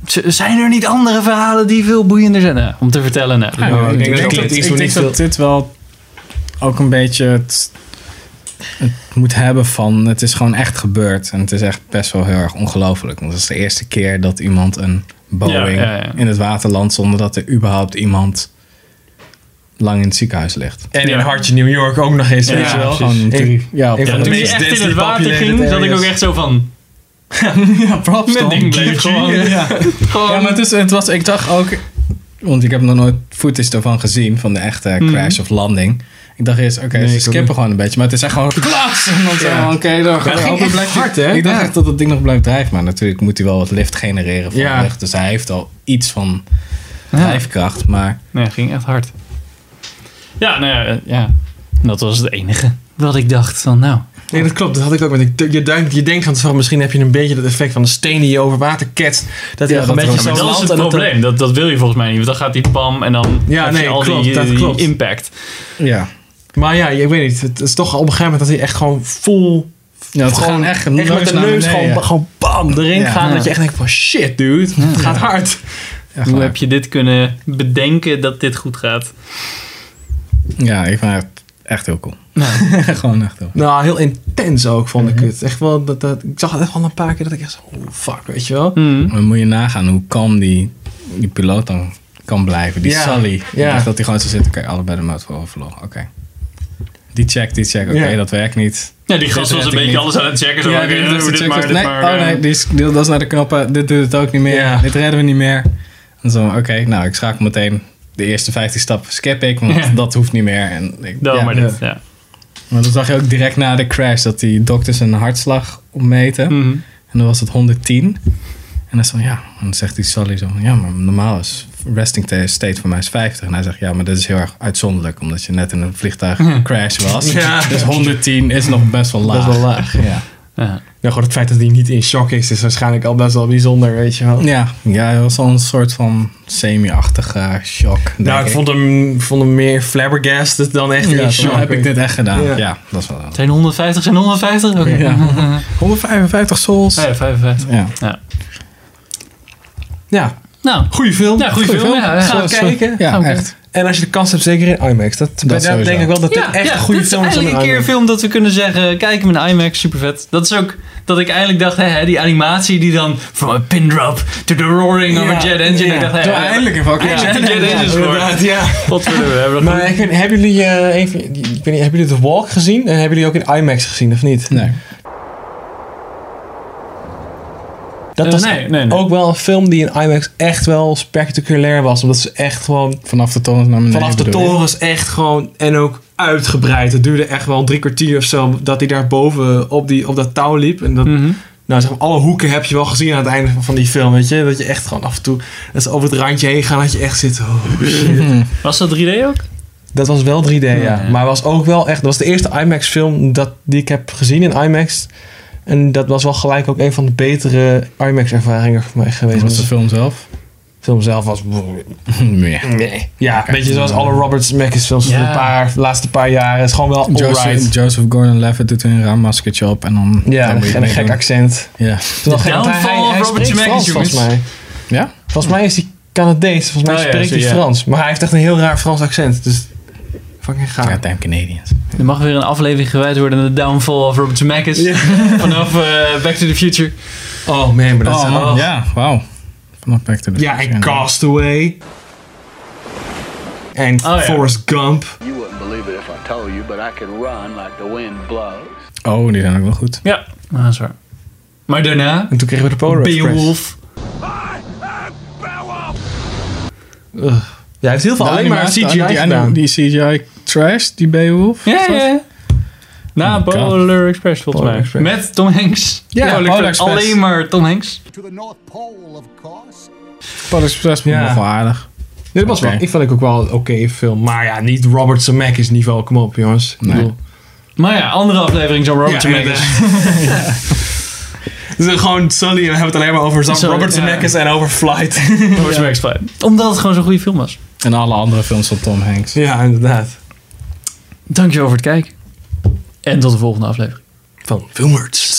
Speaker 1: Z- zijn er niet andere verhalen die veel boeiender zijn eh, om te vertellen? Nou,
Speaker 2: Ja,
Speaker 3: ik denk dat
Speaker 2: ik
Speaker 3: Clint
Speaker 2: denk dat-
Speaker 3: Eastwood
Speaker 2: ik denk
Speaker 3: niet
Speaker 2: dat dit wel ook een beetje het moet hebben van het is gewoon echt gebeurd. En het is echt best wel heel erg ongelooflijk. Want het is de eerste keer dat iemand een Boeing
Speaker 1: Ja, ja, ja.
Speaker 2: in het water landt zonder dat er überhaupt iemand lang in het ziekenhuis ligt.
Speaker 3: En in
Speaker 1: Ja.
Speaker 3: hartje New York ook nog eens, weet
Speaker 1: Ja,
Speaker 3: je wel.
Speaker 1: precies.
Speaker 2: Gewoon drie- ja, op
Speaker 3: ik
Speaker 2: de-
Speaker 1: Ja,
Speaker 3: Van de
Speaker 1: toen hij
Speaker 3: meest
Speaker 1: echt in
Speaker 3: densely
Speaker 1: het water
Speaker 3: populated
Speaker 1: ging, zat ik ook
Speaker 3: areas.
Speaker 1: echt zo van...
Speaker 2: ja, props
Speaker 1: Mijn
Speaker 2: dan.
Speaker 1: ding bleef gewoon...
Speaker 2: Ja.
Speaker 1: gewoon-
Speaker 2: Ja, maar het, is, het was, ik dacht ook, want ik heb nog nooit footage daarvan gezien, van de echte crash of landing. Ik dacht eerst, oké,
Speaker 3: ik
Speaker 2: ze
Speaker 3: ook
Speaker 2: skippen
Speaker 3: niet.
Speaker 2: gewoon een beetje, maar het is echt gewoon klas. En dan zo,
Speaker 3: Ja.
Speaker 2: oké, dan
Speaker 3: ging
Speaker 2: dan
Speaker 3: echt
Speaker 2: blijft
Speaker 3: hard,
Speaker 2: hij-
Speaker 3: hè?
Speaker 2: Ik dacht
Speaker 3: Ja.
Speaker 2: echt dat het ding nog blijft drijven, maar natuurlijk moet hij wel wat lift genereren van
Speaker 3: Ja.
Speaker 2: de weg. Dus hij heeft al iets van drijfkracht, maar
Speaker 1: Nee, ging echt hard. Ja, nou ja, eh, ja. Dat was het enige wat ik dacht van nou...
Speaker 3: Nee, dat klopt. Dat had ik ook. Met ik- je, duikt, je denkt van tevoren, misschien heb je een beetje dat effect van de steen die je over water ketst. Dat hij
Speaker 2: Ja,
Speaker 3: nog een
Speaker 2: dat
Speaker 3: beetje
Speaker 2: er-
Speaker 1: Maar dat is
Speaker 3: zo landt
Speaker 1: het
Speaker 3: en dat er-
Speaker 1: probleem. Dat, dat wil je volgens mij niet. Want dan gaat die pam en dan
Speaker 3: Ja,
Speaker 1: heb je
Speaker 3: nee,
Speaker 1: al
Speaker 3: klopt,
Speaker 1: die, eh,
Speaker 3: dat
Speaker 1: die
Speaker 3: klopt.
Speaker 1: impact.
Speaker 2: ja.
Speaker 3: Maar ja, ik weet niet. Het is toch op een gegeven moment dat hij echt gewoon full...
Speaker 2: ja het
Speaker 3: gewoon
Speaker 2: gaat echt, neus
Speaker 3: met de
Speaker 2: naar
Speaker 3: neus
Speaker 2: beneden.
Speaker 3: gewoon, gewoon bam erin
Speaker 2: Ja.
Speaker 3: gaan.
Speaker 2: Ja.
Speaker 3: Dat je echt denkt van shit dude, het gaat hard.
Speaker 2: Echt
Speaker 1: Hoe
Speaker 2: waar.
Speaker 1: heb je dit kunnen bedenken dat dit goed gaat?
Speaker 2: Ja, ik vond het echt heel cool.
Speaker 1: Nou,
Speaker 2: gewoon echt heel
Speaker 3: Nou, heel intens ook vond
Speaker 2: Mhm.
Speaker 3: ik het. Echt wel, dat, dat, ik zag het echt wel een paar keer dat ik echt zo, oh, fuck, weet je wel.
Speaker 2: Maar moet je nagaan hoe kalm die, die piloot dan kan blijven. Die
Speaker 3: Ja,
Speaker 2: Sally. Ik
Speaker 3: ja.
Speaker 2: dacht dat hij gewoon zo zit. Oké, allebei de motor overvlogen. Oké. Die check, die check. Oké,
Speaker 3: Ja.
Speaker 2: dat werkt niet.
Speaker 1: ja, die
Speaker 2: Dit
Speaker 1: gast
Speaker 2: red
Speaker 1: was een
Speaker 2: ik
Speaker 1: beetje
Speaker 2: niet.
Speaker 1: alles aan het checken. Zo,
Speaker 2: Ja,
Speaker 1: oké,
Speaker 2: die-
Speaker 1: doe
Speaker 2: dat is de
Speaker 1: dit
Speaker 2: check.
Speaker 1: maar, dit
Speaker 2: Nee,
Speaker 1: maar,
Speaker 2: oh
Speaker 1: eh.
Speaker 2: nee, die, is- die- dat is naar de knoppen. Dit doet het ook niet meer.
Speaker 3: Ja.
Speaker 2: Dit redden we niet meer. En zo, oké, nou, ik schakel meteen de eerste 15 stappen. Skip ik, want
Speaker 1: Ja.
Speaker 2: dat hoeft niet meer. En ik,
Speaker 1: Dan
Speaker 2: ja.
Speaker 1: maar dit, ja.
Speaker 2: Maar dat zag je ook direct na de crash. Dat die dokters een hartslag opmeten.
Speaker 1: Mhm.
Speaker 2: En dan was het 110. En dan, zo, ja. en dan zegt die Sally zo van, ja, maar normaal is resting t- state voor mij is 50. En hij zegt, ja, maar dat is heel erg uitzonderlijk, omdat je net in een vliegtuig crash was.
Speaker 3: Mhm. Ja.
Speaker 2: Dus 110 is nog best wel laag.
Speaker 3: Best wel laag.
Speaker 2: Ja,
Speaker 1: Ja.
Speaker 3: Nou, gewoon het feit dat hij niet in shock is, is waarschijnlijk al best wel bijzonder, weet je wel. Nou,
Speaker 2: ja, ja dat was al een soort van semi-achtige shock. denk
Speaker 3: Nou, ik vond hem, vond hem meer flabbergasted dan echt
Speaker 2: ja,
Speaker 3: in
Speaker 2: zo
Speaker 3: shock.
Speaker 2: heb ik dit echt gedaan.
Speaker 3: Ja.
Speaker 2: Ja, dat is wel.
Speaker 1: Zijn 150, zijn 150? Oké.
Speaker 2: Ja. 155 souls.
Speaker 1: Ja, 55.
Speaker 2: Ja.
Speaker 3: Ja,
Speaker 1: Nou,
Speaker 3: goede film.
Speaker 1: Ja, goede film, ja, ja.
Speaker 3: Ga
Speaker 1: Zo- zo-
Speaker 3: kijken.
Speaker 2: Ja,
Speaker 1: Oké.
Speaker 2: echt.
Speaker 3: En als je de kans hebt, zeker in IMAX. Dat, dat
Speaker 2: sowieso.
Speaker 3: denk ik wel dat dit echt een goede
Speaker 1: dit
Speaker 3: film
Speaker 1: is
Speaker 3: is.
Speaker 1: eigenlijk een keer een
Speaker 3: IMAX.
Speaker 1: film dat we kunnen zeggen, kijk hem in IMAX, super vet. Dat is ook dat ik eigenlijk dacht, hè, hè, die animatie die dan from a pin drop to the roaring of
Speaker 3: Ja,
Speaker 1: a jet engine.
Speaker 3: ja.
Speaker 1: Ik dacht, hè,
Speaker 2: Zo,
Speaker 1: hè,
Speaker 2: eindelijk een fucking
Speaker 1: eindelijk een jet engine score.
Speaker 3: Inderdaad, ja.
Speaker 1: Wat willen we hebben?
Speaker 3: Maar ik weet- hebben jullie, eh, een van- ik weet niet, hebben jullie The Walk gezien? En hebben jullie ook in IMAX gezien, of niet?
Speaker 2: Nee.
Speaker 3: Dat
Speaker 1: Eh,
Speaker 3: was
Speaker 1: nee, nee, nee.
Speaker 3: ook wel een film die in IMAX echt wel spectaculair was. Omdat ze echt gewoon
Speaker 2: Vanaf de torens naar beneden.
Speaker 3: vanaf de
Speaker 2: bedoel je?
Speaker 3: torens echt gewoon... En ook uitgebreid. Het duurde echt wel drie kwartier of zo dat hij daar boven op, die, op dat touw liep. En dat,
Speaker 1: Mhm.
Speaker 3: Nou, zeg maar, alle hoeken heb je wel gezien aan het einde van die film, weet je? Dat je echt gewoon af en toe dat ze over het randje heen gaan, dat je echt zit... Oh, shit.
Speaker 1: Was dat 3D ook?
Speaker 3: Dat was wel 3D, ja.
Speaker 1: Ja.
Speaker 3: Maar was ook wel echt... Dat was de eerste IMAX-film dat, die ik heb gezien in IMAX. En dat was wel gelijk ook een van de betere IMAX-ervaringen voor mij geweest.
Speaker 2: Wat is de
Speaker 3: de
Speaker 2: film zelf?
Speaker 3: film zelf was...
Speaker 2: Nee.
Speaker 3: Nee. Ja, weet je, zoals alle Robert Zemeckis films van
Speaker 1: Ja.
Speaker 3: de paar, laatste paar jaren. is gewoon wel
Speaker 2: Joseph,
Speaker 3: alright.
Speaker 2: Joseph Gordon-Levitt doet er een raar maskertje op en dan...
Speaker 3: Ja,
Speaker 2: dan moet
Speaker 3: en
Speaker 2: je
Speaker 3: een
Speaker 2: het
Speaker 3: gek
Speaker 2: meedoen.
Speaker 3: accent.
Speaker 2: Ja.
Speaker 3: Terwijl hij-
Speaker 1: Downfall
Speaker 3: hij-
Speaker 1: of
Speaker 3: hij
Speaker 1: Robert
Speaker 3: spreekt
Speaker 1: Zemeckis,
Speaker 3: Frans,
Speaker 1: jongens.
Speaker 3: volgens mij.
Speaker 2: ja?
Speaker 3: Volgens mij is hij Canadees. Volgens mij
Speaker 1: Oh ja,
Speaker 3: spreekt
Speaker 1: zo,
Speaker 3: hij
Speaker 1: ja.
Speaker 3: Frans. Maar hij heeft echt een heel raar Frans accent. Dus fucking gaaf.
Speaker 2: Ja, damn Canadians.
Speaker 1: Er mag weer een aflevering gewijd worden aan de downfall of Robert Zemeckis. Vanaf eh, Back to the Future.
Speaker 3: Oh man, maar dat is...
Speaker 2: Oh,
Speaker 3: oh.
Speaker 2: ja, wauw. Vanaf Back to the
Speaker 3: Ja,
Speaker 2: Future.
Speaker 3: en Castaway. En
Speaker 1: ja.
Speaker 3: Forrest Gump.
Speaker 10: You wouldn't believe it if I told you, but I could run like the wind blows.
Speaker 2: Oh, die zijn ook wel goed.
Speaker 1: Ja, ah, dat is waar. Maar daarna,
Speaker 3: En toen kregen we de Polar Express.
Speaker 1: Beowulf.
Speaker 3: Ja, hij heeft heel veel alleen maar CGI
Speaker 2: die,
Speaker 3: gedaan.
Speaker 2: Die CGI trash, die Beowulf.
Speaker 1: Ja, ja. Na
Speaker 2: Oh, God.
Speaker 1: Polar Express volgens
Speaker 3: Polar
Speaker 1: mij.
Speaker 3: Express.
Speaker 1: Met Tom Hanks.
Speaker 2: Ja, Polar Express.
Speaker 1: Alleen maar Tom Hanks.
Speaker 9: To the North Pole, of course.
Speaker 2: Polar Express
Speaker 3: Ja.
Speaker 2: ja. nog wel aardig.
Speaker 3: Dit was wel,
Speaker 2: Oké.
Speaker 3: ik vond het ook wel een oké film. Maar ja, niet Robert Zemeckis niveau. Kom op, jongens. Ik
Speaker 2: Nee.
Speaker 3: bedoel,
Speaker 1: Maar ja, andere aflevering zo'n Robert
Speaker 3: Ja,
Speaker 1: Zemeckis.
Speaker 3: Het is gewoon Sully. We hebben het alleen maar over Zach
Speaker 1: Sorry,
Speaker 3: Robert
Speaker 1: ja.
Speaker 3: Zemeckis en over Flight.
Speaker 1: Robert Zemeckis Flight. Omdat het gewoon zo'n goede film was.
Speaker 2: En alle andere films van Tom Hanks.
Speaker 3: ja, inderdaad.
Speaker 1: Dankjewel voor het kijken. En tot de volgende aflevering.
Speaker 3: Van Filmwords.